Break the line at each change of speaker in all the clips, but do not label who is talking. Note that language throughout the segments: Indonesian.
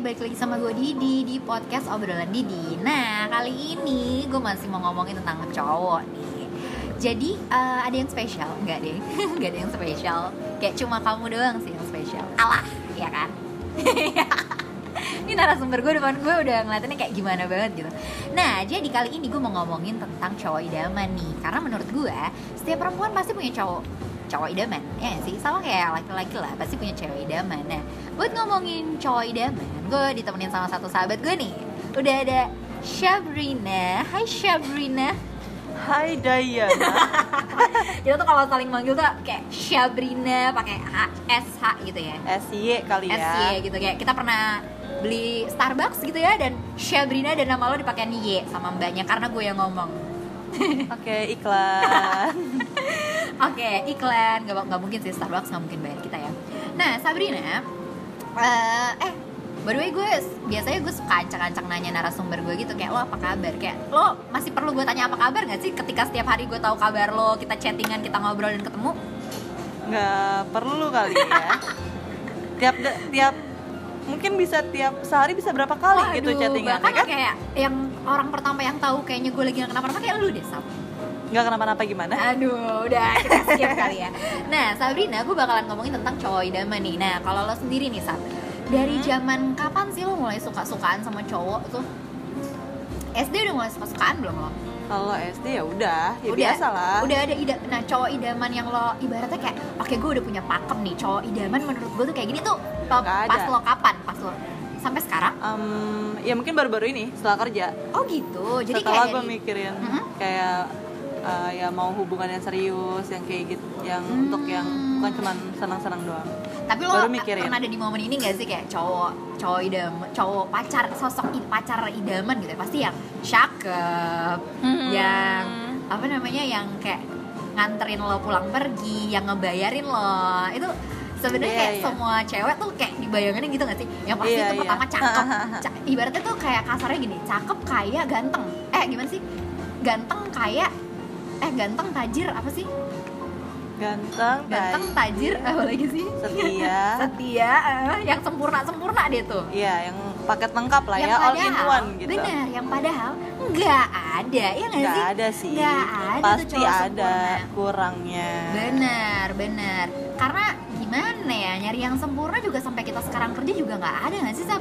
balik lagi sama gue Didi di podcast obrolan Didi Nah, kali ini gue masih mau ngomongin tentang cowok nih Jadi, eh, ada yang spesial? Enggak deh, enggak ada yang spesial Kayak cuma kamu doang sih yang spesial Alah, iya kan? ini narasumber gue depan gue udah ngeliatinnya kayak gimana banget gitu Nah, jadi kali ini gue mau ngomongin tentang cowok idaman nih Karena menurut gue, setiap perempuan pasti punya cowok cowok idaman ya nggak sih sama kayak laki-laki lah pasti punya cewek idaman nah buat ngomongin cowok idaman gue ditemenin sama satu sahabat gue nih udah ada Shabrina Hai Shabrina
Hai Dayana
kita tuh kalau saling manggil tuh kayak Shabrina pakai H S H gitu ya
SY kali ya
SY gitu kayak kita pernah beli Starbucks gitu ya dan Shabrina dan nama lo dipakai Y sama mbaknya karena gue yang ngomong
Oke iklan
Oke, iklan nggak nggak mungkin sih Starbucks nggak mungkin bayar kita ya. Nah, Sabrina, eh, eh, by the way gue biasanya gue suka ancang-ancang nanya narasumber gue gitu kayak lo apa kabar kayak lo masih perlu gue tanya apa kabar nggak sih ketika setiap hari gue tahu kabar lo kita chattingan kita ngobrol dan ketemu
Nggak perlu kali ya Tiap tiap Mungkin bisa tiap sehari bisa berapa kali
Waduh,
gitu chattingan ya
bahkan
kan?
kayak yang orang pertama yang tahu kayaknya gue lagi nggak kenapa-napa kayak lu deh Sab
Nggak kenapa-napa gimana
Eh. Nah, Aduh, udah kita skip kali ya. Nah, Sabrina, gue bakalan ngomongin tentang cowok idaman nih. Nah, kalau lo sendiri nih, Sab, dari
Hmm.
zaman kapan sih lo mulai suka-sukaan sama cowok tuh? SD udah mulai suka-sukaan belum lo?
Kalau SD ya udah Ya
udah,
biasa lah
Udah ada ida, nah cowok idaman yang lo ibaratnya kayak, oke gue udah punya pakem nih cowok idaman menurut gue tuh kayak gini tuh. Lo-
Nggak ada.
Pas lo kapan? Pas lo sampai sekarang?
Em, Ya mungkin baru-baru ini setelah kerja
Oh gitu. Jadi
Setelah
kayak
gue
dari-
mikirin
Mhm.
Kayak eh, ya mau hubungan yang serius yang kayak gitu yang untuk yang
Hmm.
bukan cuman senang-senang doang
tapi lo a-
Baru mikirin.
pernah ada di momen ini gak sih kayak cowok cowok idam cowok pacar sosok i- pacar idaman gitu ya. pasti yang cakep
Hmm.
yang apa namanya yang kayak nganterin lo pulang pergi yang ngebayarin lo itu sebenarnya
Iya,
kayak
iya.
semua cewek tuh kayak dibayangannya gitu gak sih yang pasti
Iya,
itu
iya.
pertama cakep Ca- ibaratnya tuh kayak kasarnya gini cakep kaya ganteng eh gimana sih ganteng kaya eh ganteng tajir apa sih
Ganteng,
ganteng
baik,
tajir apa lagi sih
setia
setia eh, yang sempurna sempurna deh tuh
Iya, yang paket lengkap lah
yang
ya, all in one gitu.
bener yang padahal nggak ada ya nggak
Nggak
sih
ada sih.
Nggak ada tuh
Pasti
cowok
ada
sempurna.
kurangnya.
bener bener karena gimana ya nyari yang sempurna juga sampai kita sekarang kerja juga nggak ada nggak sih Sab?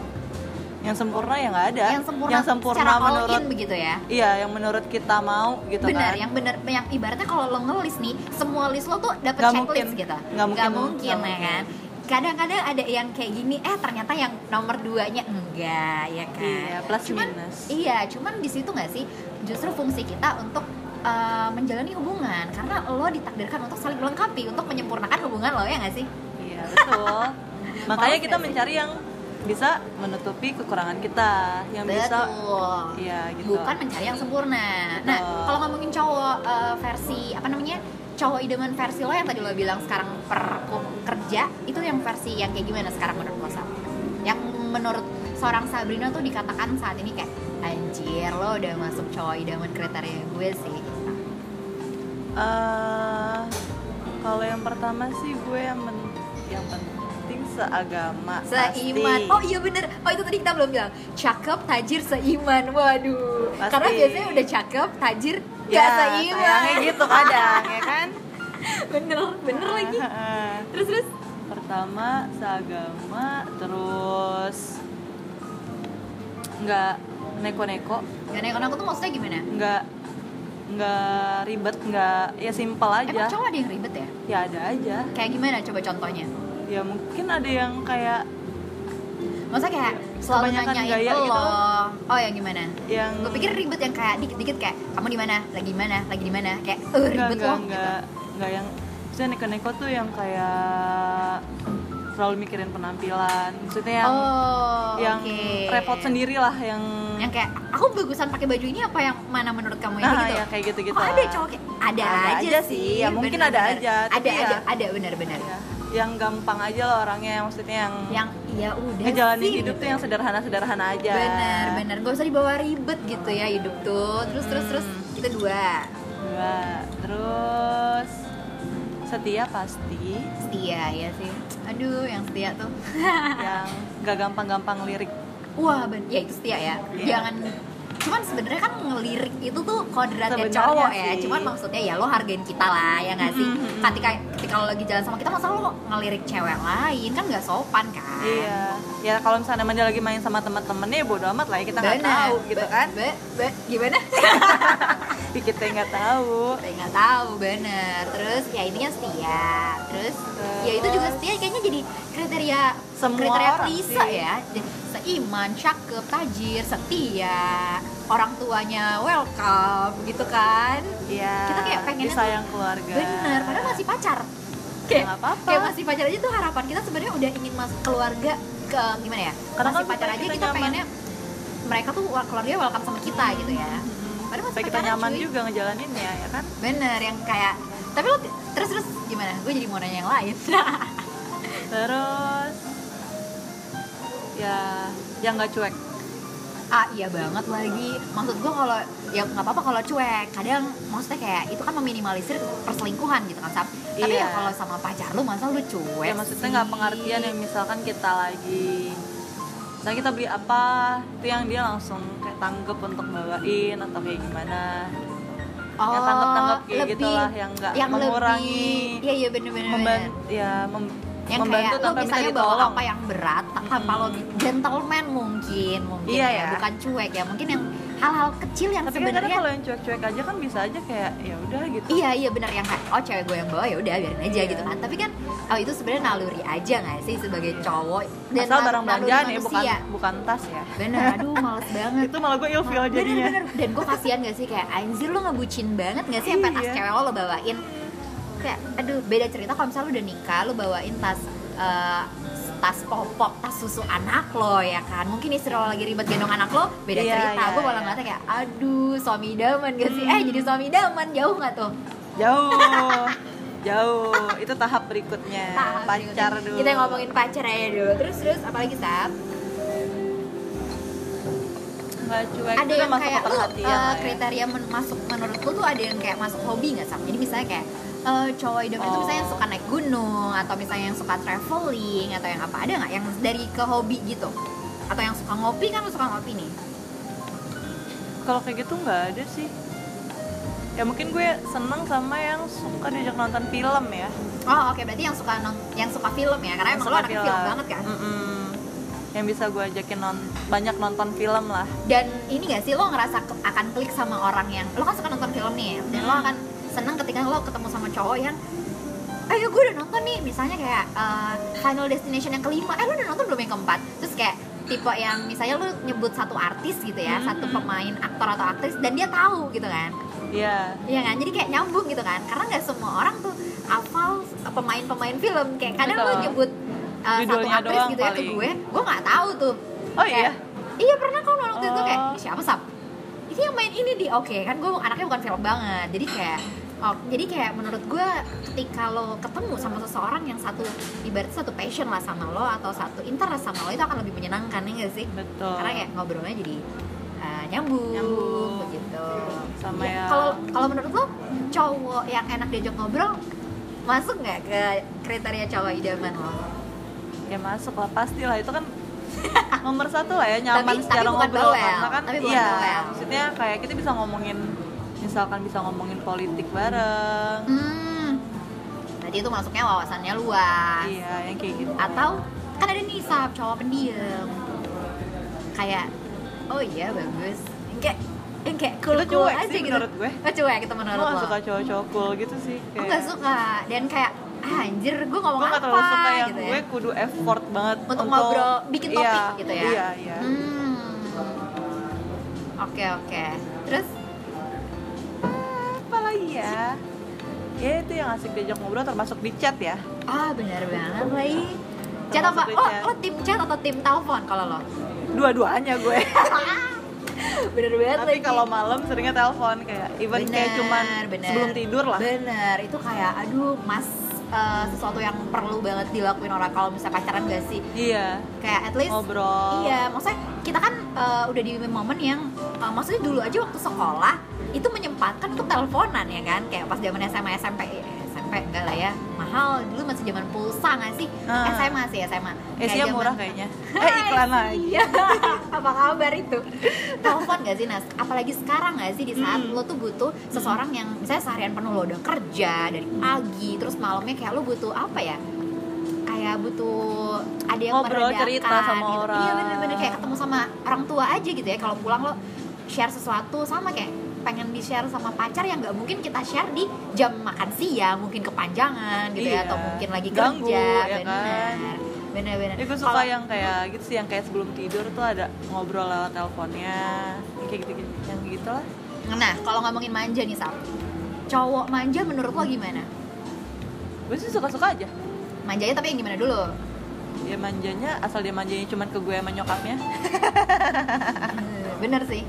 Yang sempurna ya nggak ada.
yang sempurna, secara all
menurut
in begitu ya
Iya, yang menurut kita mau gitu
bener
kan.
yang bener yang ibaratnya kalau lo ngelis nih semua list lo tuh dapet
Nggak
checklist
mungkin.
gitu
Nggak mungkin,
mungkin
nggak
ya
mungkin.
kan kadang-kadang ada yang kayak gini eh ternyata yang nomor duanya enggak ya kan
Iya, plus
Cuman,
minus.
Iya, cuman di situ nggak sih justru fungsi kita untuk eh, menjalani hubungan karena lo ditakdirkan untuk saling melengkapi untuk menyempurnakan hubungan lo ya nggak sih?
Iya, betul. Makanya
Males
kita
nggak sih?
mencari yang bisa menutupi kekurangan kita, yang bisa
Betul.
Iya, gitu.
Bukan mencari yang sempurna. Nah,
Betul.
kalau ngomongin cowok eh, versi apa namanya? cowok idaman versi lo yang tadi lo bilang sekarang per kerja itu yang versi yang kayak gimana sekarang menurut lo Sab? Yang menurut seorang Sabrina tuh dikatakan saat ini kayak anjir lo udah masuk cowok idaman kriteria gue sih.
eh kalau yang pertama sih gue yang men- yang penting seagama
Seiman.
pasti.
Oh iya bener. Oh itu tadi kita belum bilang. Cakep, tajir, seiman. Waduh.
Pasti.
Karena biasanya udah cakep, tajir,
ya,
gak seiman.
sayangnya gitu kadang ya kan
Bener, bener lagi. Terus terus.
pertama seagama terus nggak neko-neko
Gak naik aku tuh maksudnya gimana?
nggak nggak ribet nggak ya simpel aja
Emang cowok ada yang ribet ya?
ya ada aja
Kayak gimana coba contohnya?
ya mungkin ada yang kayak
Maksudnya kayak selalu
Kebanyakan
nanyain
gaya
lo.
gitu.
Oh ya gimana?
yang
Gue pikir ribet yang kayak dikit-dikit kayak kamu di mana, lagi di mana, lagi di mana, kayak eh
nggak
ribet
nggak
loh gitu.
nggak nggak yang saya neko-neko tuh yang kayak selalu mikirin penampilan maksudnya yang
oh,
yang
oke.
repot sendiri lah yang
Yang kayak aku bagusan pakai baju ini apa yang mana menurut kamu yang
nah,
gitu?
ya kayak gitu-gitu
Oh, ada
lah.
cowok kayak- ada,
Ada
aja,
aja
sih.
sih, ya mungkin
bener,
ada
bener.
aja,
Ada
tapi ya-
aja, ada benar-benar.
Ya, yang gampang aja lah orangnya maksudnya yang,
Yang ya udah
ngejalanin
sih,
hidup
gitu.
tuh yang sederhana-sederhana aja
Bener, bener. Gak usah dibawa ribet gitu ya hidup tuh. Terus, terus, terus.
Hmm.
Kita dua.
dua terus setia pasti
Setia ya sih. Aduh, yang setia tuh.
yang gak gampang-gampang lirik
wah ben ya itu setia ya
Iya.
jangan cuman sebenarnya kan ngelirik itu tuh kodratnya
Sebenarnya
cowok ya
sih.
cuman maksudnya ya lo hargain kita lah ya nggak sih
Mm, mm, mm.
ketika ketika lo lagi jalan sama kita masa lo ngelirik cewek lain kan nggak sopan kan
Iya. Ya kalau misalnya emang dia lagi main sama teman-temannya ya bodo amat lah ya kita nggak
Bener.
tahu gitu
Be-
kan.
be- be- gimana?
Ya, kita nggak tahu.
Be- nggak tahu, bener. Terus ya intinya setia. Terus ya itu juga setia kayaknya jadi kriteria
Semua
kriteria
orang
klise
sih.
ya. Jadi, Seiman, cakep, tajir, setia, orang tuanya welcome gitu kan.
Iya.
Kita kayak pengennya
disayang keluarga.
Bener, padahal masih pacar.
Ya, nggak apa-apa.
kayak masih pacar aja tuh harapan kita sebenarnya udah ingin masuk keluarga ke gimana ya?
Karena
masih
kan
pacar
supaya
aja
kita
kita,
nyaman.
pengennya mereka tuh keluarga welcome sama kita gitu ya. Padahal masih
Supaya kita
pacaran,
nyaman
cuy.
juga ngejalaninnya ya kan.
Bener, yang kayak tapi lo terus terus gimana? Gue jadi mau nanya yang lain.
Terus ya yang nggak cuek. Ya,
ah iya banget lagi. Maksud gue kalau ya nggak apa-apa kalau cuek. Kadang maksudnya kayak itu kan meminimalisir perselingkuhan gitu kan, Sab. Tapi
Iya.
ya kalau sama pacar lu masa lu cuek.
Ya maksudnya nggak
sih?
pengertian yang misalkan kita lagi misalnya kita beli apa itu yang dia langsung kayak tanggep untuk bawain atau kayak gimana
oh,
yang tanggap-tanggap kayak
lebih-
gitulah, yang nggak
lebih-
mengurangi,
Iya iya bener-bener.
membantu ya mem-
yang
membantu
kayak lo
tanpa minta
misalnya bawa
ditolong
apa ya, kan yang berat tanpa lo gentleman mungkin mungkin ya,
Iya ya.
bukan cuek ya mungkin yang hal-hal kecil yang
tapi kan kadang
sebenarnya
kalau yang cuek-cuek aja kan bisa aja kayak ya udah gitu
Iya iya benar yang kayak, oh cewek gue yang bawa ya udah biarin aja
Iya.
gitu kan. Tapi kan oh, itu sebenarnya naluri aja nggak sih sebagai
Iya.
cowok
asal
nal-
barang
naluri
belanjaan ya bukan
manusia.
bukan tas ya
Bener, aduh males banget.
itu malah gue ilfil
Nah, Bener,
jadinya
bener. Dan gue kasihan gak sih kayak anjir lu ngebucin banget gak sih sampai tas
Iya.
cewek lo lo bawain kayak aduh beda cerita kalau misalnya lu udah nikah lu bawain tas eh, tas popok, tas susu anak lo ya kan mungkin istri lo lagi ribet gendong anak lo beda
Iya,
cerita
iya,
gue malah
iya. Hmm.
ngata kayak aduh suami idaman gak sih eh jadi suami idaman jauh nggak tuh
jauh jauh itu tahap berikutnya
Tahap
Nah, pacar
berikutnya.
dulu
Nah, Kita ngomongin pacar aja dulu. Terus terus apalagi Sab?
nggak cuek
Ada
itu udah
yang
Nah, masuk
kayak
ke
lu
perhatian
eh,
lah ya.
kriteria men- masuk menurut lu tuh ada yang kayak masuk hobi nggak Sab? Jadi misalnya kayak eh, cowok idaman itu
Oh.
misalnya yang suka naik gunung atau misalnya yang suka traveling atau yang apa ada nggak yang dari ke hobi gitu? Atau yang suka ngopi kan lu suka ngopi nih?
kalau kayak gitu nggak ada sih ya mungkin gue seneng sama yang suka diajak nonton film ya
Oh oke berarti yang suka nong- yang suka film ya karena emang lu
Suka
anak film. banget kan?
Mm-mm. yang bisa gue ajakin non- banyak nonton film lah
Dan ini gak sih lo ngerasa ke- akan klik sama orang yang lo kan suka nonton film nih dan
Hmm.
lo akan seneng ketika lo ketemu sama cowok yang ayo gue udah nonton nih misalnya kayak eh, Final Destination yang kelima eh lo udah nonton belum yang keempat terus kayak tipe yang misalnya lo nyebut satu artis gitu ya satu
Hmm.
pemain aktor atau aktris dan dia tahu gitu kan
iya
Iya kan, jadi kayak nyambung gitu kan Karena nggak semua orang tuh hafal pemain-pemain film Kayak kadang
Betul.
lu nyebut uh, satu
Judulnya
aktris
doang
gitu ya ke
paling.
gue Gue nggak tahu tuh
Oh
Kayak,
iya?
Iya pernah kau nonton itu
Oh.
kayak, "Ih, siapa sab? Ini yang main ini di, oke kan gue anaknya bukan film banget Jadi kayak Oh, jadi kayak menurut gue ketika lo ketemu sama seseorang yang satu ibarat satu passion lah sama lo atau satu interest sama lo itu akan lebih menyenangkan ya nggak sih?
betul
karena kayak ngobrolnya jadi uh, nyambung,
Nyambung.
begitu
Sama
Ya,
yang-
kalau kalau menurut lo cowok yang enak diajak ngobrol masuk nggak ke kriteria cowok idaman lo
ya masuk lah pasti lah itu kan nomor satu lah ya nyaman
Tapi- tapi
secara
bukan
ngobrol
bawel.
karena kan
Tapi bukan
iya
bawel.
maksudnya kayak kita bisa ngomongin misalkan bisa ngomongin politik bareng
hmm tadi itu masuknya wawasannya luas
iya yang kayak gitu
atau kan ada nih sab cowok pendiam kayak oh iya bagus yang kayak yang kayak cool
Itu
cool
cuek
aja
sih
gitu
menurut gue.
oh, cuek itu menurut
gue gak
lo
suka cowok-cowok cool gitu sih
Gue nggak suka dan kayak ah, anjir gue ngomong
gue
apa
gak terlalu suka yang
gitu ya.
gue kudu effort banget
untuk, ngobrol bikin topik
iya,
gitu ya
iya iya
Hmm. oke oke terus
apa lagi ya ya itu yang asik diajak ngobrol termasuk di chat ya
ah benar banget lagi chat apa
Termasuk
oh
chat.
lo tim chat atau tim telepon kalau lo
dua-duanya gue
bener banget
tapi
lagi.
kalau malam seringnya telepon kayak even kayak
Bener,
cuman
bener.
sebelum tidur lah
bener itu kayak aduh mas eh, sesuatu yang perlu banget dilakuin orang kalau misalnya pacaran gak sih
iya
kayak at least
ngobrol
Iya, maksudnya kita kan eh, udah di momen yang eh, maksudnya dulu aja waktu sekolah itu menyempatkan untuk teleponan ya kan, kayak pas zaman SMA SMP eh, SMP enggak lah ya, mah mahal dulu masih zaman pulsa nggak sih
Ah.
SMA sih SMA Kayak
Isinya
zaman-
murah kayaknya. Eh iklan lagi.
Iya. apa kabar itu telepon gak sih Nas apalagi sekarang gak sih di saat
Mm.
lo tuh butuh seseorang yang misalnya seharian penuh lo udah kerja dari pagi terus malamnya kayak lo butuh apa ya kayak butuh ada yang
Ngobrol,
meredakan,
cerita sama
gitu.
orang.
iya bener-bener kayak ketemu sama orang tua aja gitu ya kalau pulang lo share sesuatu sama kayak pengen di share sama pacar yang nggak mungkin kita share di jam makan siang mungkin kepanjangan gitu ya
Iya.
atau mungkin lagi
Ganggu,
kerja
ya
bener
kan?
bener-bener
Ya, gue
Kalau-
suka yang kayak gitu sih, yang kayak sebelum tidur tuh ada ngobrol lewat teleponnya, yang kayak gitu, gitu yang gitu lah.
Nah, kalau ngomongin manja nih, Sal. Cowok manja menurut lo gimana?
Gue sih suka-suka aja.
Manjanya tapi yang gimana dulu?
Dia manjanya, asal dia manjanya cuman ke gue sama nyokapnya,
Hmm, Bener sih.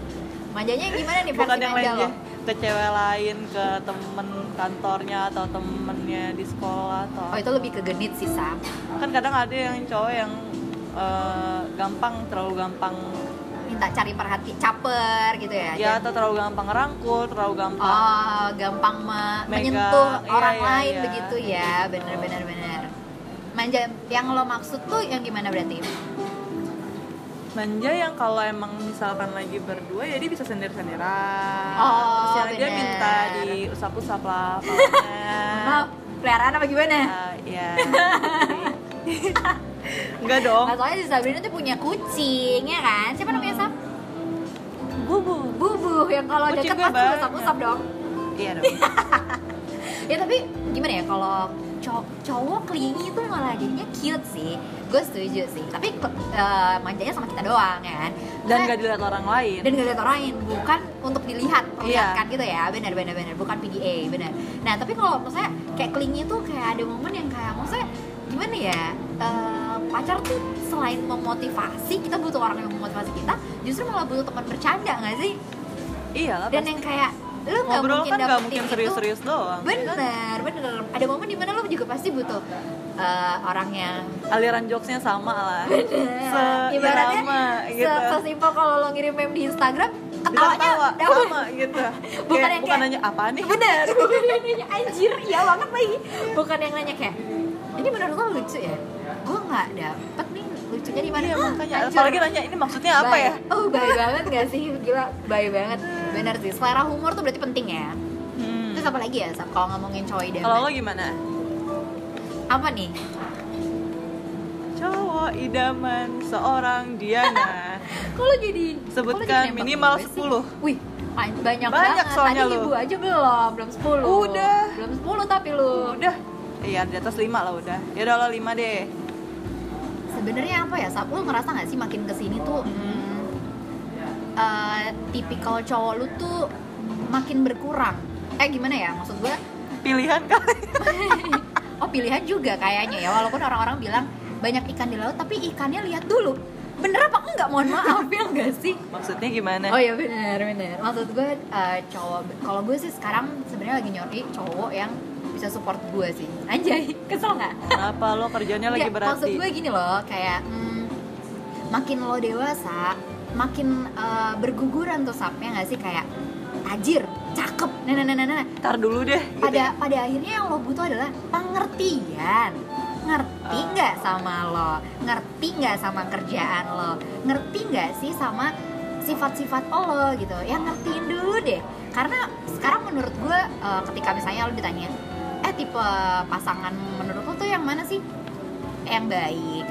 Manjanya yang gimana nih versi
bukan yang
manja lo?
lain dia ke cewek lain, ke temen kantornya atau temennya di sekolah atau.
Oh, itu lebih ke genit sih, Sam.
Kan kadang ada yang cowok yang eh, gampang, terlalu gampang
Minta cari perhatian, caper gitu ya.
ya atau terlalu gampang ngerangkul, terlalu gampang
Oh, gampang me-
Megang,
menyentuh
iya,
orang
iya,
lain
iya.
begitu ya. Bener, bener, bener. Manja yang lo maksud tuh yang gimana berarti?
Nah. manja yang kalau emang misalkan lagi berdua ya dia bisa sendiri sendiran
Oh,
terus yang dia
bener.
minta diusap usap lah palanya.
Maaf, peliharaan apa gimana?
Ah, ya enggak dong
Nah, soalnya si Sabrina tuh punya kucing, ya kan? Siapa namanya, Sam?
bubu
Bubu, yang kalau deket
Kucing gue
pasti
banyak.
usap-usap dong.
iya dong
ya tapi gimana ya kalau cow- cowok klingi itu malah jadinya cute sih gue setuju sih tapi eh, manjanya sama kita doang ya kan
dan
Karena-
nggak dilihat orang lain
dan gak lihat orang lain bukan untuk dilihat perlihatkan
Iya.
gitu ya benar benar benar bukan PDA benar nah tapi kalau maksudnya kayak klingi tuh kayak ada momen yang kayak maksudnya gimana ya eh, pacar tuh selain memotivasi kita butuh orang yang memotivasi kita justru malah butuh teman bercanda nggak sih
iyalah
dan
pasti.
yang kayak lu nggak
Iya ngobrol
mungkin
kan nggak
dapetin
mungkin
itu
serius-serius doang ya kan?
Bener, bener. Ada momen dimana lo juga pasti butuh eh, orang yang
aliran jokesnya sama lah
ibaratnya
seirama
se-
gitu
sesimpel kalau lo ngirim meme di Instagram,
Bisa
ketawanya
ketawa,
dapet.
sama gitu
Bukan
Kayak-
yang
bukan
kayak-
nanya apa nih
Bener, bukan yang nanya anjir, ya banget lagi. Bukan yang nanya kayak, ini menurut lo lucu ya? Gue nggak dapet nih lucunya di mana?
Iya makanya,
Hancur.
apalagi nanya ini maksudnya apa
Bye.
ya?
Oh, baik banget gak sih? Gila, baik banget. Bener sih, selera humor tuh berarti penting ya.
Hmm.
Terus apa lagi ya, Sab, kalau ngomongin cowok idaman?
Kalau lo gimana?
Apa nih?
Cowok idaman seorang Diana.
Kok lo jadi kok
Sebutkan
lo jadi nembak
minimal
gue sih?
10.
Wih, pan- banyak,
Banyak
banget.
soalnya
Tadi
lu.
ibu aja belum, belum 10.
Udah.
Belum 10 tapi lu.
udah, iya di atas 5 lah udah. Ya udah lo 5 deh.
Sebenarnya apa ya, Sab? Lu ngerasa nggak sih makin kesini tuh
Hmm.
eh, tipikal cowok lu tuh makin berkurang? Eh gimana ya? Maksud gue,
Pilihan kali.
oh pilihan juga kayaknya ya. Walaupun orang-orang bilang banyak ikan di laut, tapi ikannya lihat dulu. Bener apa enggak? Mohon maaf ya enggak sih?
Maksudnya gimana?
Oh iya benar benar. Maksud gue eh, cowok kalau gue sih sekarang sebenarnya lagi nyari cowok yang bisa support gue sih. Anjay, kesel nggak?
Kenapa lo kerjanya lagi
Nggak,
berarti?
Iya, Maksud gue gini loh, kayak hmm, makin lo dewasa, makin eh, berguguran tuh sapnya nggak sih kayak tajir, cakep, nah nah nah nah, nah.
Ntar dulu deh. gitu
Pada pada akhirnya yang lo butuh adalah pengertian. Ngerti
Ah.
nggak sama lo? Ngerti nggak sama kerjaan lo? Ngerti nggak sih sama sifat-sifat lo gitu? Yang ngertiin dulu deh. Karena sekarang menurut gue eh, ketika misalnya lo ditanya, eh tipe pasangan menurut lo tuh yang mana sih? Yang baik.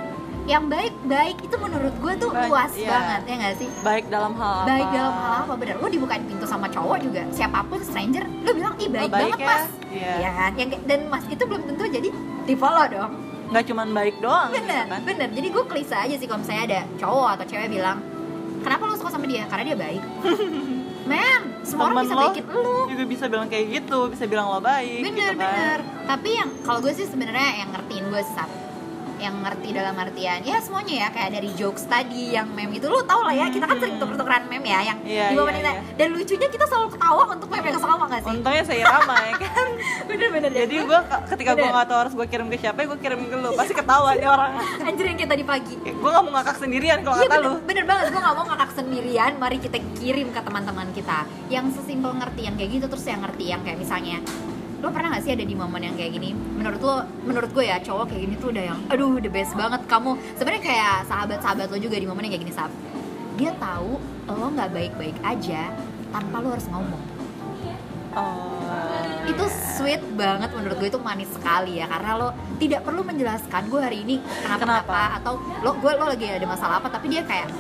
Yang baik baik itu menurut gue tuh
Baik,
luas
iya.
banget ya nggak sih?
ya. Baik dalam hal apa?
baik dalam hal apa bener lu dibukain pintu sama cowok juga siapapun stranger lu bilang ih baik,
Oh, baik
banget
ya.
mas
Iya.
ya kan yang kayak- dan mas itu belum tentu jadi di follow dong
Nggak cuman baik doang gitu
bener
kan?
bener jadi gue klise aja sih kalau misalnya ada cowok atau cewek bilang kenapa lu suka sama dia karena dia baik mem semua orang
Temen
bisa
lo
baikin lu
juga bisa bilang kayak gitu, bisa bilang lo baik
bener
gitu kan.
bener tapi yang kalau gue sih sebenarnya yang ngertiin gue sih yang ngerti dalam artian ya semuanya ya kayak dari jokes tadi yang meme itu lu tau lah ya kita kan
Hmm.
sering tuker-tukeran meme ya yang
Iya,
dibawa
iya,
menit-
iya.
dan lucunya kita selalu ketawa untuk meme yang sama gak sih Gitu.
Untungnya saya ramai kan.
bener-bener
Jadi gue ketika gue
Bener.
nggak tahu harus gue kirim ke siapa, gue kirim ke lu. Pasti ketawa nih orang.
anjir yang kayak tadi pagi
Gue nggak mau ngakak sendirian kalau
Iya
kata
bener,
lu.
bener banget, gue gak mau ngakak sendirian Mari kita kirim ke teman-teman kita Yang sesimpel ngerti yang kayak gitu Terus yang ngerti yang kayak misalnya lo pernah gak sih ada di momen yang kayak gini menurut lo menurut gue ya cowok kayak gini tuh udah yang aduh the best banget kamu sebenarnya kayak sahabat sahabat lo juga di momen yang kayak gini sab dia tahu lo nggak baik baik aja tanpa lo harus ngomong
Oh.
itu sweet banget menurut gue itu manis sekali ya karena lo tidak perlu menjelaskan gue hari ini kenapa,
Kenapa?
atau lo gue lo lagi ada masalah apa tapi dia kayak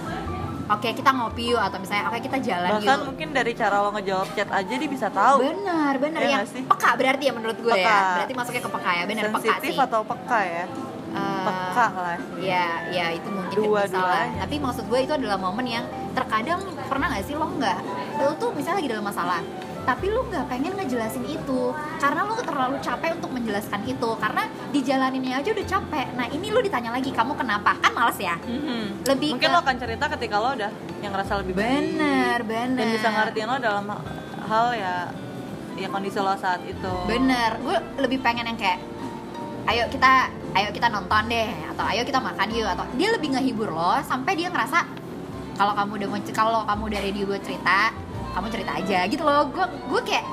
oke kita ngopi yuk atau misalnya oke kita jalan
bahkan
yuk
mungkin dari cara lo ngejawab chat aja dia bisa tahu
benar benar
Iya
yang
nggak sih?
peka berarti ya menurut gue ya
Peka.
berarti masuknya ke peka ya benar peka
sensitif
sih
atau peka ya
Eh,
peka lah
ya ya itu mungkin
Dua-duanya.
salah tapi maksud gue itu adalah momen yang terkadang pernah nggak sih lo nggak lo tuh misalnya lagi dalam masalah tapi lo nggak pengen ngejelasin itu karena lo terlalu capek untuk menjelaskan itu karena dijalaninnya aja udah capek nah ini lo ditanya lagi kamu kenapa kan males ya
Mhm.
lebih
mungkin
ke-
lo akan cerita ketika lo udah yang ngerasa lebih baik
bener bener
dan bisa ngertiin lo dalam hal- hal ya ya kondisi lo saat itu
Bener, gue lebih pengen yang kayak ayo kita ayo kita nonton deh atau ayo kita makan yuk atau dia lebih ngehibur lo sampai dia ngerasa kalau kamu udah mau kalau kamu udah ready gue cerita kamu cerita aja gitu loh gue gue kayak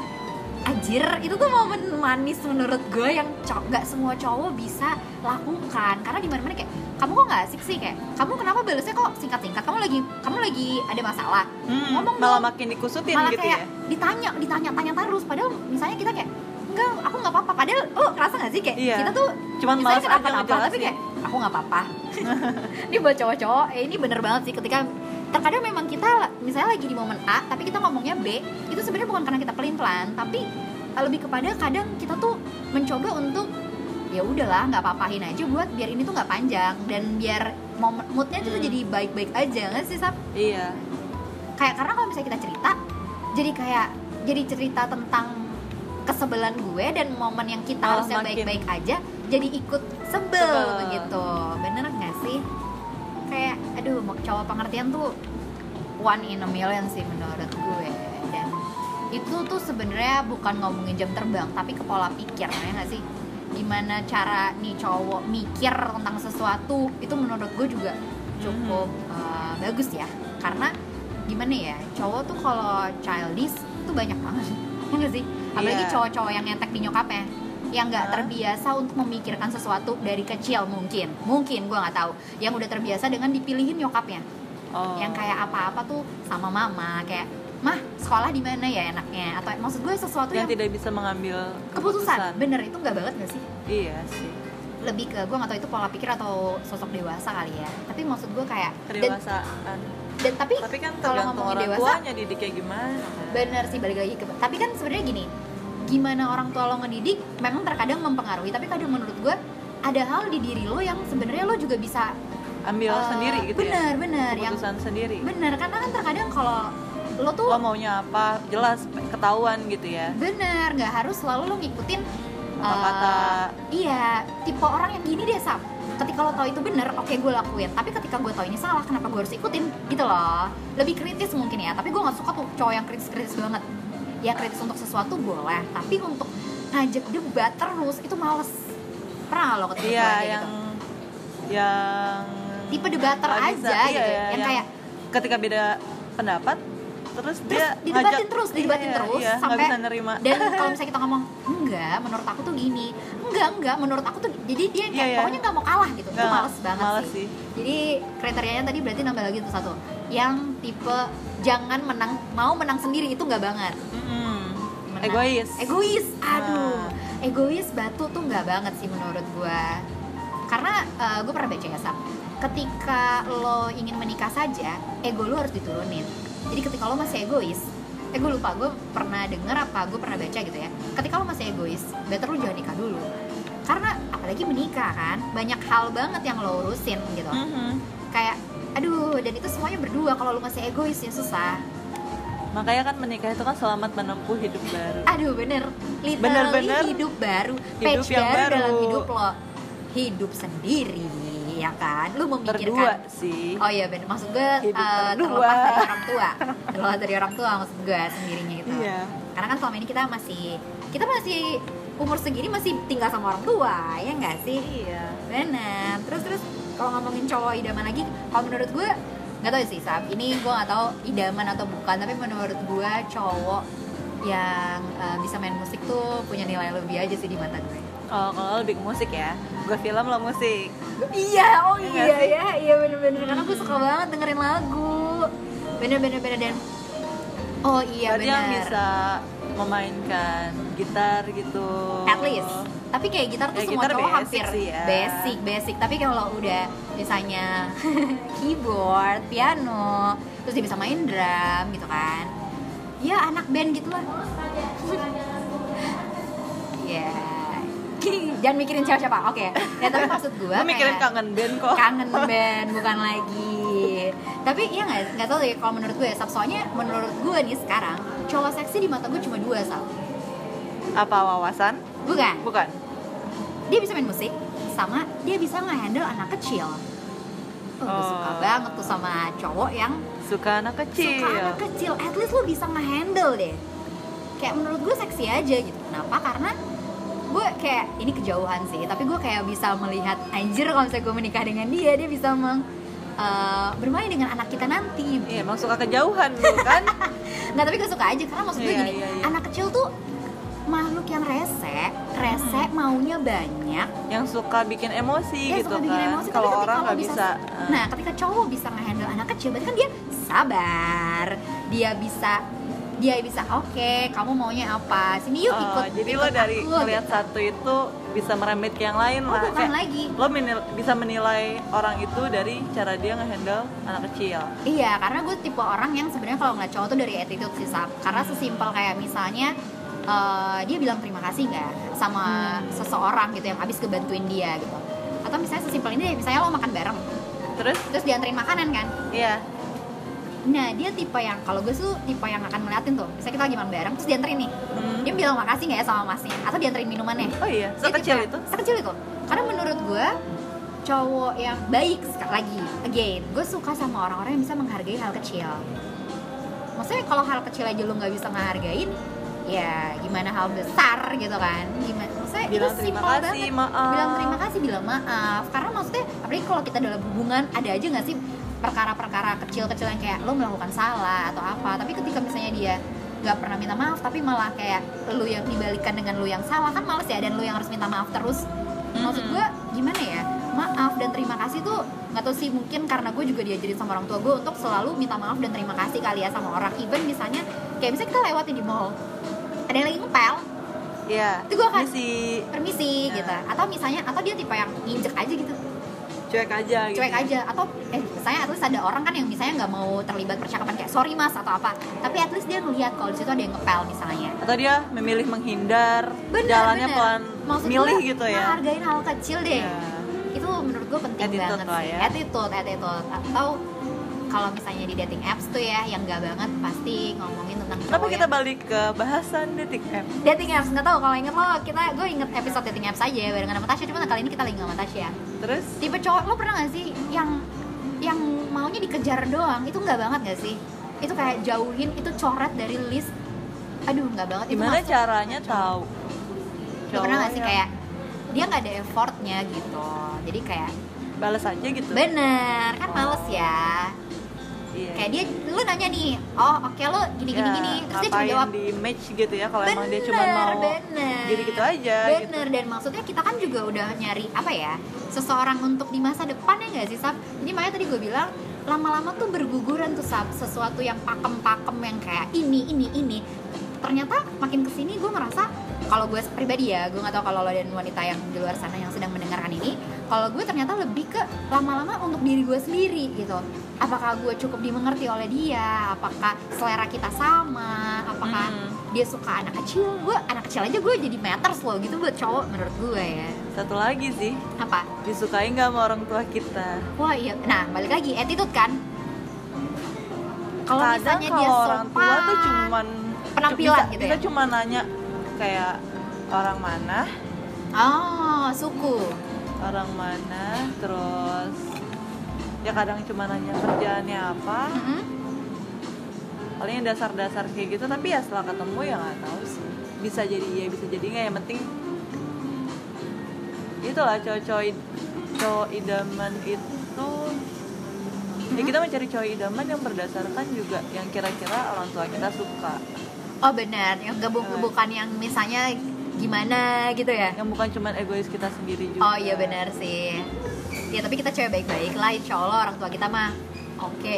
anjir itu tuh momen manis menurut gue yang cow- nggak semua cowok bisa lakukan karena di mana mana kayak kamu kok nggak asik sih kayak kamu kenapa balasnya kok singkat singkat kamu lagi kamu lagi ada masalah
Hmm,
Ngomong
malah
dong.
makin dikusutin
malah
gitu
kayak
ya
ditanya ditanya tanya terus padahal misalnya kita kayak enggak aku nggak apa-apa padahal lo ngerasa nggak sih kayak
Iya.
kita tuh
cuman
misalnya
malas aja
kenapa-napa tapi
ngejelasin.
kayak aku nggak apa-apa ini buat cowok-cowok eh, ini bener banget sih ketika terkadang memang kita misalnya lagi di momen A tapi kita ngomongnya B itu sebenarnya bukan karena kita pelin-pelan tapi eh, lebih kepada kadang kita tuh mencoba untuk ya udahlah nggak apa-apain aja buat biar ini tuh nggak panjang dan biar momen moodnya tuh
Hmm.
jadi baik-baik aja nggak sih Sab?
iya
kayak karena kalau misalnya kita cerita jadi kayak jadi cerita tentang kesebelan gue dan momen yang kita
Malah
harusnya
makin-
baik-baik aja jadi ikut sebel,
Sebel.
begitu bener nggak sih kayak aduh mau- cowok pengertian tuh one in a million sih menurut gue dan itu tuh sebenarnya bukan ngomongin jam terbang tapi ke pola pikir ya nggak sih gimana cara nih cowok mikir tentang sesuatu itu menurut gue juga cukup
Hmm.
eh, bagus ya karena gimana ya cowok tuh kalau childish tuh banyak banget ya nggak sih apalagi
Iya.
cowok-cowok yang ngetek di nyokapnya yang nggak
Hah?
terbiasa untuk memikirkan sesuatu dari kecil mungkin mungkin gue nggak tahu yang udah terbiasa dengan dipilihin nyokapnya
oh.
yang kayak apa-apa tuh sama mama kayak mah sekolah di mana ya enaknya atau maksud gue sesuatu
yang
yang,
tidak bisa mengambil
ya? keputusan. bener itu nggak banget nggak sih
iya sih
lebih ke gue nggak tahu itu pola pikir atau sosok dewasa kali ya tapi maksud gue kayak dan,
kedewasaan
dan tapi
tapi kan
kalau
tergantung
ngomongin
orang
dewasa-
tuanya didiknya gimana kan?
bener sih balik lagi ke tapi kan sebenarnya gini gimana orang tua lo ngedidik memang terkadang mempengaruhi tapi kadang menurut gue ada hal di diri lo yang sebenarnya lo juga bisa
ambil
eh,
sendiri gitu ya
bener bener yang
keputusan sendiri
bener karena kan terkadang kalau lo tuh
lo maunya apa jelas ketahuan gitu ya
bener nggak harus selalu lo ngikutin
apa
eh,
kata
Iya, tipe orang yang gini deh, Sam. Ketika lo tau itu bener, oke gue lakuin. Tapi ketika gue tau ini salah, kenapa gue harus ikutin? Gitu loh. Lebih kritis mungkin ya. Tapi gue nggak suka tuh cowok yang kritis-kritis banget. Ya kritis untuk sesuatu boleh, tapi untuk ngajak debat terus itu males. Pernah nggak lo ketemu
iya
cowok kayak
yang
gitu?
yang
Tipe debater
nggak bisa,
aja
iya,
gitu,
iya,
yang kayak
ketika beda pendapat
Terus
terus, dia
didebatin
ngajak-
terus, didebatin
iya,
terus
iya, nggak
sampai-
bisa nerima
dan kalau misalnya kita ngomong enggak menurut aku tuh gini enggak enggak menurut aku tuh jadi dia kayak
Iya, iya.
pokoknya nggak mau kalah gitu itu
Nggak,
males banget
males
sih.
sih.
jadi kriterianya tadi berarti nambah lagi tuh satu yang tipe jangan menang mau menang sendiri itu nggak banget
Mm-mm.
Menang.
egois
egois aduh
Nah.
egois batu tuh nggak banget sih menurut gua karena gue pernah baca ya Sam ketika lo ingin menikah saja ego lo harus diturunin jadi ketika lo masih egois eh gue lupa gue pernah denger apa gue pernah baca gitu ya ketika lo masih egois better lo jangan nikah dulu karena apalagi menikah kan banyak hal banget yang lo urusin gitu
Mhm.
kayak aduh dan itu semuanya berdua kalau lo masih egois ya susah
makanya kan menikah itu kan selamat menempuh hidup baru
Aduh bener, literally
Bener-bener.
hidup baru,
Hidup
page
yang
baru,
baru.
dalam hidup lo, hidup sendiri, ya kan? Lu memikirkan.
berdua sih
Oh iya bener, maksud gue
Hidup
eh,
berdua.
terlepas dari orang tua, terlepas dari orang tua maksud gue sendirinya gitu.
Iya.
Karena kan selama ini kita masih, kita masih umur segini masih tinggal sama orang tua, ya nggak sih?
iya
Bener. Terus terus kalau ngomongin cowok idaman lagi, kalau menurut gue nggak tahu sih Sam. Ini gue nggak tahu idaman atau bukan, tapi menurut gue cowok yang eh, bisa main musik tuh punya nilai lebih aja sih di mata gue
Kalau kalau lebih ke musik ya, gue film lo musik.
Iya, oh
Iya
iya
nggak sih?
ya, iya bener-bener karena gue suka banget dengerin lagu. Bener-bener bener dan oh iya
Berarti yang
bener.
bisa memainkan gitar gitu.
At least. Tapi kayak gitar tuh
Ya,
semua
gitar
cowok
basic
hampir
sih ya.
basic, basic. Tapi kalau udah misalnya keyboard, piano, terus dia bisa main drum gitu kan. Ya anak band gitu lah. Ya. Jangan mikirin siapa-siapa. Oke. Ya tapi maksud gue
Gue mikirin
kayak-
kangen band kok.
kangen band bukan lagi tapi iya nggak nggak tahu deh kalau menurut gue Sab. soalnya menurut gue nih sekarang cowok seksi di mata gue cuma dua Sab.
Apa wawasan?
bukan
Bukan.
dia bisa main musik sama dia bisa nge-handle anak kecil Oh, gue suka
Oh.
banget tuh sama cowok yang
Suka anak
suka
kecil.
anak kecil at least lo bisa nge-handle deh kayak menurut gue seksi aja gitu kenapa karena gue kayak ini kejauhan sih tapi gue kayak bisa melihat anjir kalau misalnya gue menikah dengan dia dia bisa meng eh, bermain dengan anak kita nanti
Iya, emang suka kejauhan lu kan?
nggak tapi gue suka aja karena maksud gue
Iya,
gini
iya, iya.
anak kecil tuh makhluk yang rese rese maunya banyak
yang suka bikin emosi
dia
gitu
Iya, suka bikin
kan.
emosi
Kalau
tapi
orang
ketika lo
nggak bisa. eh,
nah ketika cowok bisa ngehandle anak kecil berarti kan dia sabar dia bisa dia bisa oke kamu maunya apa sini yuk
eh,
ikut
jadi
ikut
lo dari
aku,"
ngeliat satu itu bisa merembet ke yang lain
gitu. oh
lah.
bukan
Kayak
lagi
lo menil- bisa menilai orang itu dari cara dia ngehandle anak kecil.
iya karena gue tipe orang yang sebenarnya kalau ngeliat cowok tuh dari attitude sih Sab. karena sesimpel kayak misalnya eh, dia bilang terima kasih nggak sama
Hmm.
seseorang gitu yang habis kebantuin dia gitu atau misalnya sesimpel ini deh misalnya lo makan bareng
Terus,
terus dianterin makanan kan
iya,
Nah dia tipe yang kalau gue tuh tipe yang akan ngeliatin tuh Misalnya kita lagi makan bareng terus dianterin nih
Hmm.
Dia bilang makasih nggak ya sama masnya Atau dianterin minumannya
Oh iya,
Dia
sekecil
tipe-
itu.
Sekecil itu Karena menurut gue cowok yang baik sekali lagi Again, gue suka sama orang-orang yang bisa menghargai hal kecil Maksudnya kalau hal kecil aja lo nggak bisa ngehargain Ya gimana hal besar gitu kan gimana, Maksudnya
Bilang
itu
terima
simple
kasih,
banget
maaf.
bilang terima kasih bilang maaf karena maksudnya apalagi kalau kita dalam hubungan ada aja nggak sih perkara-perkara kecil-kecil yang kayak lo melakukan salah atau apa tapi ketika misalnya dia nggak pernah minta maaf tapi malah kayak lo yang dibalikan dengan lo yang salah kan males ya dan lo yang harus minta maaf terus maksud
Mhm.
gue gimana ya maaf dan terima kasih tuh nggak tau sih mungkin karena gue juga diajarin sama orang tua gue untuk selalu minta maaf dan terima kasih kali ya sama orang even misalnya kayak misalnya kita lewatin di mall ada yang lagi ngepel
Iya.
Itu gua akan-
Ini sih
permisi
Ya.
gitu atau misalnya atau dia tipe yang nginjek aja gitu
cuek aja gitu.
cuek aja atau eh misalnya at least ada orang kan yang misalnya nggak mau terlibat percakapan kayak sorry mas atau apa tapi at least dia ngeliat kalau di situ ada yang ngepel misalnya
Atau dia memilih menghindar,
Bener,
jalannya
bener.
pelan,
Maksud
milih
gua,
gitu ya.
ngehargain hal kecil deh
Iya.
itu menurut gue penting
Attitude
banget
lah
sih
ya.
attitude attitude atau kalau misalnya di dating apps tuh ya yang nggak banget pasti ngomongin tentang
Tapi
cowok
kita
yang-
balik ke bahasan detik app.
dating apps nggak tahu kalau inget lo kita gue inget episode dating apps aja barengan sama Tasya cuma kali ini kita lagi nggak sama Tasya
Terus
tipe cowok lo pernah gak sih yang yang maunya dikejar doang itu nggak banget gak sih itu kayak jauhin itu coret dari list aduh nggak banget itu
gimana
masuk.
caranya tahu?
lo pernah gak sih
Cowoknya.
kayak dia nggak ada effortnya gitu jadi kayak
balas aja gitu?
bener kan males ya
Iya.
kayak dia lu nanya nih oh oke lo gini gini
Ya,
gini terus dia
apa
cuma
yang
jawab
di match gitu ya kalau emang dia
Bener,
cuma mau
bener.
gitu gitu aja gitu.
bener dan maksudnya kita kan juga udah nyari apa ya seseorang untuk di masa depan ya nggak sih sab ini makanya tadi gue bilang lama-lama tuh berguguran tuh sab sesuatu yang pakem-pakem yang kayak ini ini ini ternyata makin kesini gue merasa kalau gue pribadi ya gue nggak tahu kalau lo dan wanita yang di luar sana yang sedang mendengarkan ini kalau gue ternyata lebih ke lama-lama untuk diri gue sendiri gitu apakah gue cukup dimengerti oleh dia apakah selera kita sama apakah
Hmm.
dia suka anak kecil gue anak kecil aja gue jadi matters loh gitu buat cowok menurut gue ya
Satu lagi sih
apa
disukai nggak sama orang tua kita?
wah iya nah balik lagi attitude kan kalau
kadang
misalnya dia
kalau orang tua
sopan,
tuh cuman
Penampilan
bisa-
gitu
kita
ya?
cuma nanya kayak orang mana
oh suku
orang mana terus ya kadang cuma nanya kerjaannya apa
Mhm.
paling dasar-dasar kayak gitu tapi ya setelah ketemu ya nggak tahu sih bisa jadi ya bisa jadi nggak yang penting itulah cowok-cowok id- cowok idaman itu ya kita mencari cowok idaman yang berdasarkan juga yang kira-kira orang tua kita suka
oh benar yang gabung
Benar.
bukan yang misalnya gimana gitu ya
yang bukan cuman egois kita sendiri juga
oh iya benar sih ya tapi kita cewek baik-baik lah insya Allah orang tua kita mah oke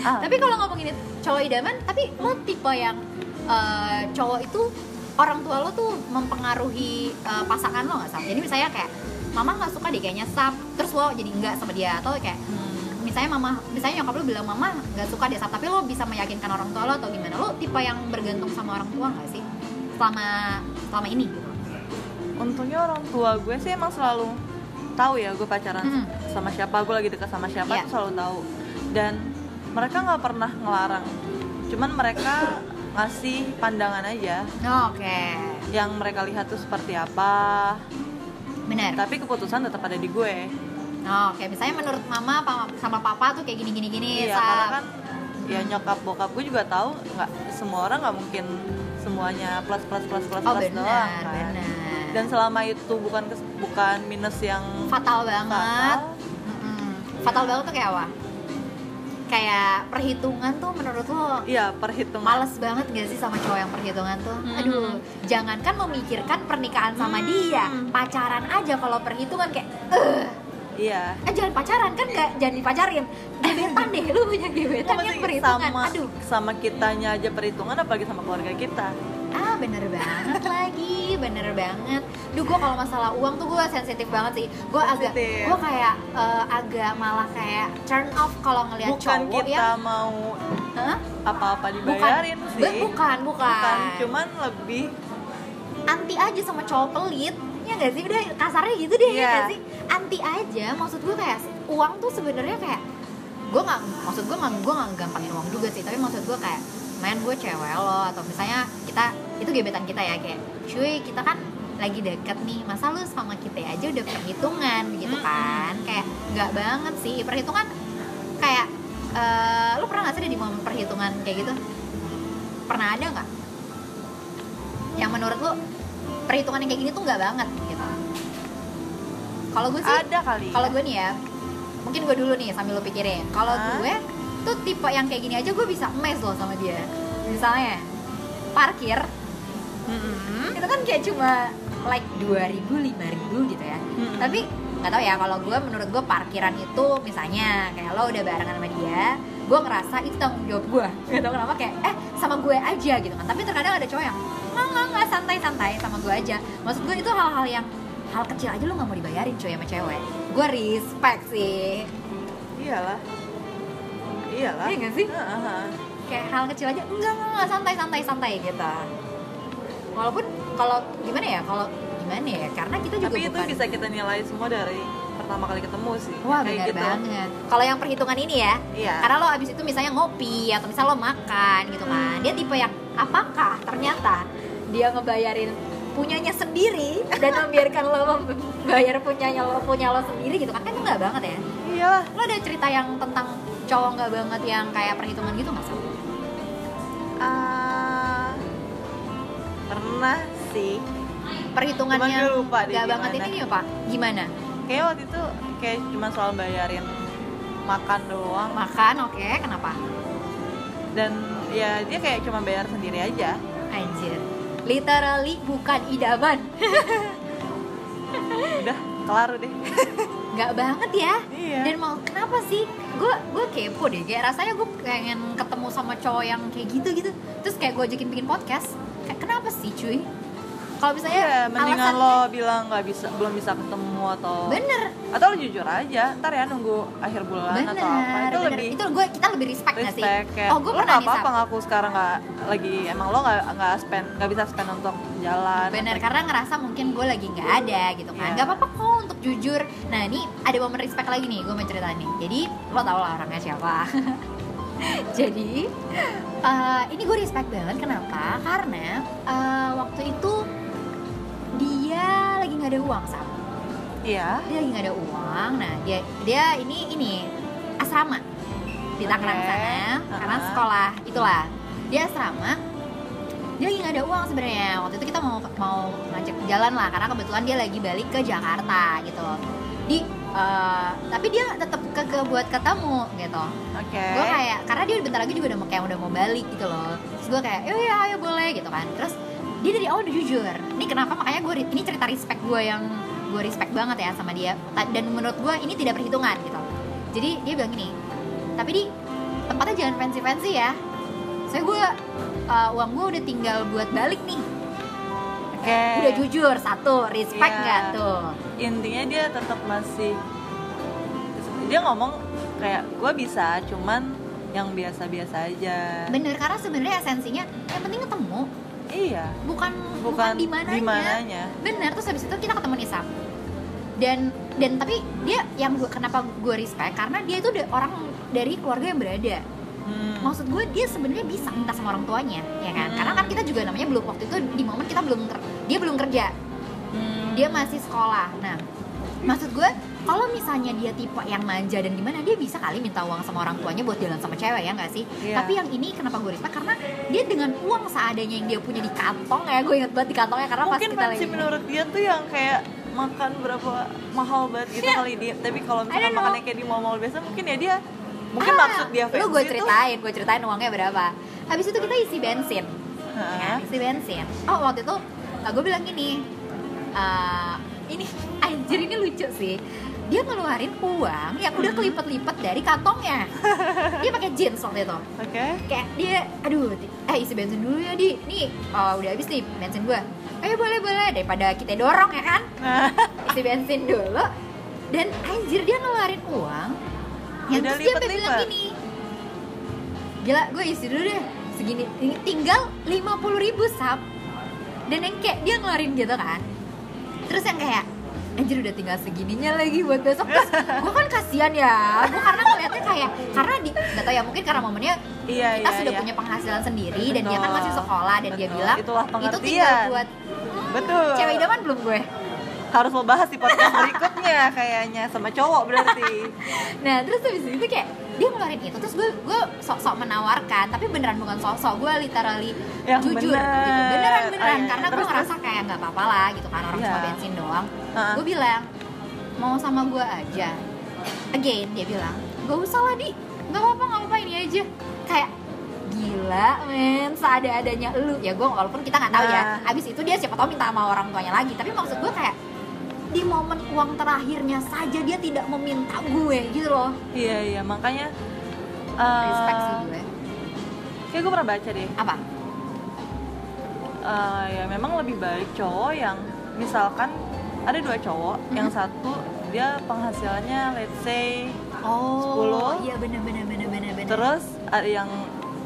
Ah,
tapi kalau ngomongin cowok idaman tapi lo tipe yang eh, cowok itu orang tua lo tuh mempengaruhi eh, pasangan lo nggak sam jadi misalnya kayak mama nggak suka deh kayaknya sam terus lo jadi enggak sama dia atau kayak "Hmm, misalnya mama misalnya nyokap lo bilang mama nggak suka deh sam tapi lo bisa meyakinkan orang tua lo atau gimana lo tipe yang bergantung sama orang tua nggak sih selama selama ini gitu
untungnya orang tua gue sih emang selalu tahu ya gue pacaran
Hmm.
sama siapa gue lagi dekat sama siapa
Iya.
tuh selalu tahu dan mereka nggak pernah ngelarang cuman mereka ngasih pandangan aja
oke
yang mereka lihat tuh seperti apa
benar
tapi keputusan tetap ada di gue
oke misalnya menurut mama pa- sama papa tuh kayak gini gini gini
iya
Sam.
karena kan ya nyokap bokap gue juga tahu nggak semua orang nggak mungkin semuanya plus plus plus plus
oh
plus doang
benar
kan.
benar
dan selama itu bukan kes- bukan minus yang
fatal banget.
fatal,
Mm-mm. Fatal banget tuh kayak apa? Kayak perhitungan tuh menurut lo
Iya perhitungan.
males banget gak sih sama cowok yang perhitungan tuh?
Hmm.
Aduh, jangankan memikirkan pernikahan sama
Hmm.
dia, pacaran aja kalau perhitungan kayak eh,
Iya.
eh, jangan pacaran kan gak jangan dipacarin. Gebetan deh lu punya gebetan yang
Maksudnya
kan perhitungan.
sama,
Aduh,
sama kitanya aja perhitungan apalagi sama keluarga kita.
ah bener banget lagi bener banget duh gue kalau masalah uang tuh gue sensitif banget sih gue agak
Sensitif.
gue kayak eh, agak malah kayak turn off kalau ngelihat
Bukan
Ya, cowok
kita
yang
mau
Hah?
apa-apa
bukan,
dibayarin sih.
Ben, bukan bukan
Bukan, cuman lebih
anti aja sama cowok pelit ya gak sih udah kasarnya gitu deh ya
Iya.
gak sih anti aja maksud gue kayak uang tuh sebenarnya kayak gue nggak maksud gue nggak gue nggak gampangin uang juga sih tapi maksud gue kayak main gue cewek lo atau misalnya kita itu gebetan kita ya kayak cuy kita kan lagi deket nih masa lu sama kita aja udah perhitungan gitu
Mm-mm.
kan kayak nggak banget sih perhitungan kayak eh, lu pernah nggak sih ada di momen perhitungan kayak gitu pernah ada nggak yang menurut lu perhitungan yang kayak gini tuh nggak banget gitu kalau gue sih
ada kali.
kalau gue nih ya mungkin gue dulu nih sambil lo pikirin kalau
Hah?
gue tuh tipe yang kayak gini aja gue bisa mes loh sama dia misalnya parkir
Mm-mm.
itu kan kayak cuma like 2000 5000 gitu ya
Mm-mm.
tapi nggak tahu ya kalau gue menurut gue parkiran itu misalnya kayak lo udah barengan sama dia gue ngerasa itu tanggung jawab gue gak tau kenapa kayak eh sama gue aja gitu kan tapi terkadang ada cowok yang nggak nggak nggak santai santai sama gue aja maksud gue itu hal-hal yang hal kecil aja lo nggak mau dibayarin cowok sama cewek gue respect sih
iyalah. Iyalah.
Iya nggak sih?
Heeh, heeh.
kayak hal kecil aja enggak enggak, enggak santai santai santai gitu walaupun kalau gimana ya kalau gimana ya karena kita juga
Tapi itu
bukan
bisa kita nilai semua dari pertama kali ketemu sih.
wah
Kayak
benar
gitu.
banget kalau yang perhitungan ini ya
Iya.
karena lo abis itu misalnya ngopi atau misal lo makan gitu kan
Hmm.
dia tipe yang apakah ternyata dia ngebayarin punyanya sendiri dan membiarkan lo membayar punyanya lo punya lo sendiri gitu kan kan itu nggak banget ya
Iyalah.
lo ada cerita yang tentang cowok nggak banget yang kayak perhitungan gitu nggak sih
Ah, pernah sih.
perhitungannya
Cuman gue lupa deh
nggak banget
gimana.
ini apa gimana
Kayaknya waktu itu kayak cuma soal bayarin makan doang
makan oke kenapa
dan ya dia kayak cuma bayar sendiri aja.
anjir literally bukan idaman
Udah kelar deh.
nggak banget ya
Iya.
dan mau kenapa sih gue gue kepo deh kayak rasanya gue pengen ketemu sama cowok yang kayak gitu gitu terus kayak gue ajakin bikin podcast kayak kenapa sih cuy kalau
Iya,
misalnya
mendingan
alasannya-
lo bilang nggak bisa belum bisa ketemu atau
bener
atau lo jujur aja. Ntar ya nunggu akhir bulan
bener
kan atau apa itu
bener.
lebih
itu gue kita lebih respect, nggak sih
respect kayak,
oh gue
lo
pernah
nggak
nih
apa-apa
Sam.
ngaku sekarang nggak lagi emang lo nggak nggak spend nggak bisa spend untuk jalan
Bener,
atau-
karena ngerasa mungkin gue lagi nggak ada gitu kan
Iya.
Gak apa-apa kok untuk jujur Nah ini ada momen respect lagi nih, gue mau cerita nih Jadi lo tau lah orangnya siapa Jadi eh, ini gue respect banget, kenapa? Karena eh, waktu itu dia lagi nggak ada uang sama
iya
Dia lagi nggak ada uang, nah dia, dia ini ini asrama di Tangerang
Oke.
sana Karena
Uh-huh.
sekolah itulah Dia asrama dia lagi nggak ada uang sebenarnya waktu itu kita mau mau ngajak ke jalan lah karena kebetulan dia lagi balik ke Jakarta gitu di eh, tapi dia tetap ke, ke buat ketemu gitu
oke
gue kayak karena dia bentar lagi juga udah mau kayak udah mau balik gitu loh Terus gue kayak "Iya, iya ayo boleh gitu kan terus dia dari awal udah jujur ini kenapa makanya gue ini cerita respect gue yang gue respect banget ya sama dia Ta- dan menurut gue ini tidak perhitungan gitu jadi dia bilang gini tapi di tempatnya jangan fancy fancy ya saya gue uh, uang gue udah tinggal buat balik nih
Oke.
udah jujur satu respect
Eh. Iya.
nggak tuh
intinya dia tetap masih dia ngomong kayak gue bisa cuman yang biasa-biasa aja
bener karena sebenarnya esensinya yang penting ketemu
iya
bukan bukan,
bukan
di mananya.
dimananya.
bener terus habis itu kita ketemu Nisa dan dan tapi dia yang gua, kenapa gue respect karena dia itu da- orang dari keluarga yang berada
Hmm.
maksud gue dia sebenarnya bisa minta sama orang tuanya ya kan
Hmm.
karena kan kita juga namanya belum waktu itu di momen kita belum ker- dia belum kerja
Hmm.
dia masih sekolah nah maksud gue kalau misalnya dia tipe yang manja dan gimana dia bisa kali minta uang sama orang tuanya buat jalan sama cewek ya nggak sih
Iya.
tapi yang ini kenapa gue respect karena dia dengan uang seadanya yang dia punya di kantong ya gue inget banget di kantongnya karena pas
mungkin
kita
fancy
lagi
menurut dia tuh yang kayak makan berapa mahal banget gitu kali dia tapi kalau misalkan
Iya. don't know.
makannya kayak di mall-mall biasa mungkin ya dia mungkin
Ah,
maksud dia gitu.
lu
fancy
gue
tuh-
ceritain gue ceritain uangnya berapa habis itu kita isi bensin ya
Hah?
kan? isi bensin oh waktu itu nah, gue bilang gini eh, ini anjir ini lucu sih dia ngeluarin uang yang
Hmm.
udah kelipet-lipet dari kantongnya dia pakai jeans waktu itu
oke
kayak dia aduh di- eh isi bensin dulu ya di nih oh, udah habis nih bensin gue ayo boleh boleh daripada kita dorong ya kan
nah
isi bensin dulu dan anjir dia ngeluarin uang yang
Udah
terus dia sampai
lipat-lipat.
bilang gini gila gue isi dulu deh segini ini tinggal 50.000 ribu sap dan yang kayak dia ngeluarin gitu kan terus yang kayak anjir udah tinggal segininya lagi buat besok terus gue kan kasihan ya gue karena ngeliatnya kayak karena di nggak tau ya mungkin karena momennya
iya
kita
iya,
sudah
iya.
punya penghasilan sendiri dan dia kan
Betul.
masih sekolah dan dia
Betul.
bilang
Itulah
itu tinggal
pengertian."
buat
betul
cewek idaman belum gue
harus lo bahas di podcast berikutnya kayaknya sama cowok berarti
Nah terus habis itu kayak dia ngeluarin itu terus gue gue sok-sok menawarkan tapi beneran bukan sok-sok gue literally
Yang
jujur
bener.
gitu beneran
Ah,
beneran
iya, iya.
karena gue
Terus,
ngerasa kayak nggak apa-apa lah gitu kan orang cuma
Iya.
bensin doang
Ah.
gue bilang mau sama gue aja again dia bilang gak usah lah di nggak apa-apa nggak apa-apa ini aja kayak gila men seada-adanya lu ya gue walaupun kita nggak tahu ya
Nah.
abis itu dia siapa tahu minta sama orang tuanya lagi tapi maksud gue kayak di momen uang terakhirnya saja dia tidak meminta gue gitu loh
iya iya makanya
respect
eh
sih gue
kayak gue pernah baca deh
apa
Eh, ya memang lebih baik cowok yang misalkan ada dua cowok
Mhm.
yang satu dia penghasilannya let's say
oh
10.
iya bener bener bener bener bener
terus ada yang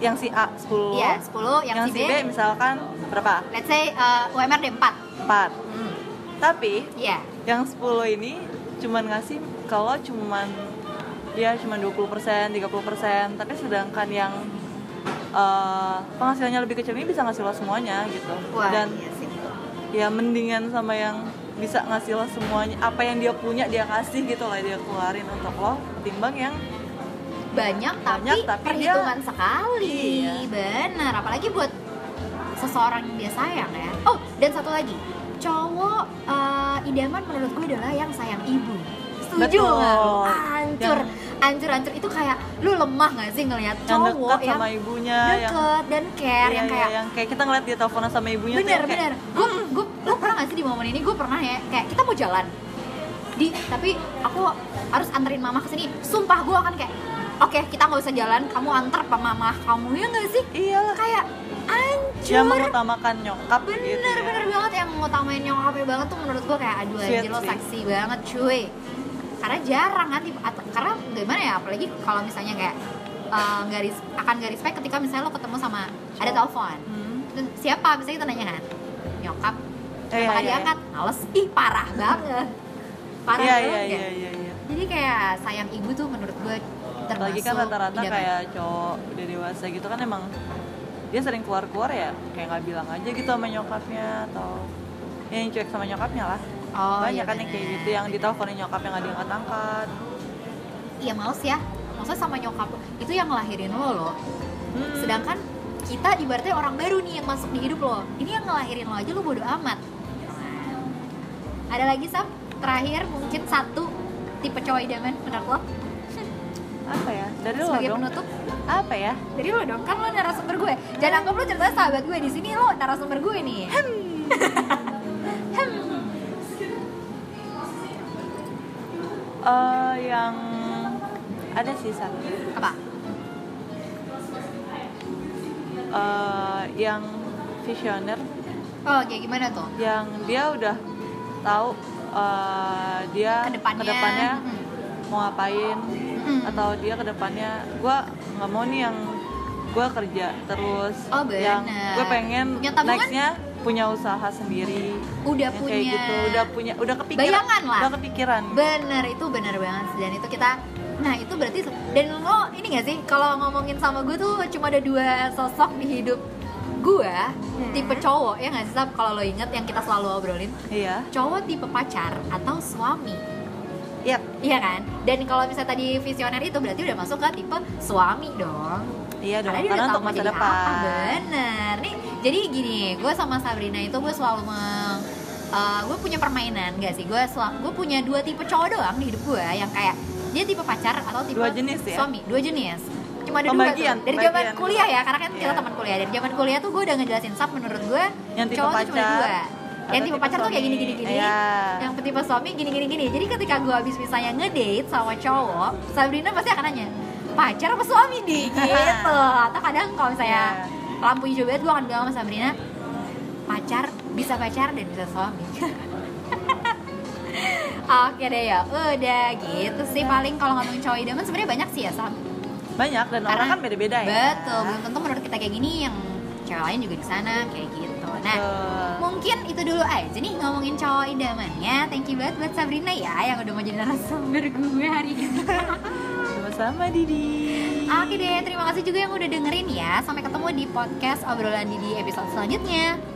yang si A 10
iya 10 yang,
yang, si B, misalkan berapa
let's say eh, UMR deh 4
4
Hmm,
tapi
iya
yang 10 ini cuman ngasih kalau cuman ya cuman 20% 30% tapi sedangkan yang eh, penghasilannya lebih kecil ini bisa ngasih lo semuanya gitu
wah
dan
iya sih
ya mendingan sama yang bisa ngasih lo semuanya apa yang dia punya dia kasih gitu lah dia keluarin untuk lo ketimbang yang
banyak tapi,
Banyak, tapi
perhitungan sekali
Iya.
bener apalagi buat seseorang yang dia sayang ya oh dan satu lagi cowok eh, idaman menurut gue adalah yang sayang ibu setuju
Betul.
nggak lu? hancur
Yang-
hancur hancur itu kayak lu lemah nggak sih ngelihat
yang
cowok
dekat
yang
sama ibunya yang
deket dan care
iya,
yang
iya,
kayak
yang kayak kita ngeliat dia teleponan sama ibunya tuh
bener
yang kayak,
bener
Hmm.
gue gue lo pernah gak sih di momen ini gue pernah ya kayak kita mau jalan di tapi aku harus anterin mama ke sini sumpah gue akan kayak oke kita nggak usah jalan kamu anter ke mama kamu ya gak sih
iyalah
kayak
dia
anjur
mengutamakan nyokap
bener
Ya, gitu ya.
bener banget yang ngutamain nyokapnya banget tuh menurut gue kayak aduh
Sweet
anjir lo
sih.
seksi banget cuy karena jarang kan tipe- at- karena gimana ya apalagi kalau misalnya kayak eh, garis akan garis respect ketika misalnya lo ketemu sama ada telepon
Hmm.
Terus siapa misalnya kita nanya kan nyokap
Eh,
maka
iya, iya.
diangkat males ih parah banget parah
iya iya
banget
iya
ya.
iya iya
jadi kayak sayang ibu tuh menurut gue termasuk iya,
apalagi kan rata-rata
idaman.
kayak cowok udah dewasa gitu kan emang dia sering keluar-keluar ya kayak nggak bilang aja gitu sama nyokapnya atau ya yang cuek sama nyokapnya lah
oh,
banyak
iya
kan yang kayak
bener.
gitu yang diteleponin nyokapnya nggak diangkat-angkat
iya males ya maksudnya sama nyokap itu yang ngelahirin lo loh
Hmm.
sedangkan kita ibaratnya orang baru nih yang masuk di hidup lo ini yang ngelahirin lo aja lo bodo amat Gitu kan. ada lagi sam terakhir mungkin satu tipe cowok idaman menurut lo
apa ya dari lo
sebagai
dong
penutup
apa ya
Dari lo dong, kan lo narasumber gue. Jangan anggap lo ceritanya sahabat gue di sini lo narasumber gue nih. Hem. Hem.
Eh, yang ada sih satu
Apa?
Eh, yang visioner
Oh, kayak gimana tuh?
yang dia udah tahu eh, dia
Kedepannya.
kedepannya
Hmm.
mau ngapain
Mm.
atau dia kedepannya gue nggak mau nih yang gue kerja terus
Oh, bener.
yang gue pengen
Punya tabungan?
nextnya punya usaha sendiri
Udah
Yang
punya.
kayak gitu udah punya udah kepikiran
Bayangan lah.
udah kepikiran
Bener itu bener banget dan itu kita nah itu berarti dan lo ini gak sih kalau ngomongin sama gue tuh cuma ada dua sosok di hidup gue
Hmm.
tipe cowok ya nggak sih Sab? kalau lo inget yang kita selalu obrolin
iya
cowok tipe pacar atau suami
yep
iya kan dan kalau misalnya tadi visioner itu berarti udah masuk ke tipe suami dong
iya dong
karena dia
karena
udah tahu
untuk
mau
masa
jadi
depan
apa bener nih jadi gini gue sama Sabrina itu gue selalu meng eh, gue punya permainan gak sih gue selalu gue punya dua tipe cowok doang di hidup gue yang kayak dia tipe pacar atau tipe
Dua jenis ya?
suami dua jenis cuma ada
Pembagian,
dua tuh. dari
pembagian.
zaman kuliah ya karena kan kita
Iya.
teman kuliah dari zaman kuliah tuh gue udah ngejelasin sab menurut gue
Yang tipe
cowok tuh cuma ada
pacar
dua yang
atau
tipe
tipe
pacar tuh kayak
suami.
gini gini gini
Iya.
yang tipe suami gini gini gini jadi ketika gue habis misalnya ngedate sama cowok Sabrina pasti akan nanya pacar apa suami nih gitu atau kadang kalau misalnya lampu hijau banget gue akan bilang sama Sabrina pacar bisa pacar dan bisa suami Oke deh ya, udah gitu sih paling kalau ngomongin cowok idaman sebenarnya banyak sih ya Sam.
banyak dan orang kan beda-beda ya
Betul, belum tentu menurut kita kayak gini yang cewek lain juga di sana kayak gitu. Nah,
Betul.
mungkin itu dulu aja nih ngomongin cowok idamannya. Thank you banget buat Sabrina ya yang udah mau jadi narasumber gue hari ini.
sama-sama Didi
Oke deh, terima kasih juga yang udah dengerin ya. Sampai ketemu di podcast obrolan Didi episode selanjutnya.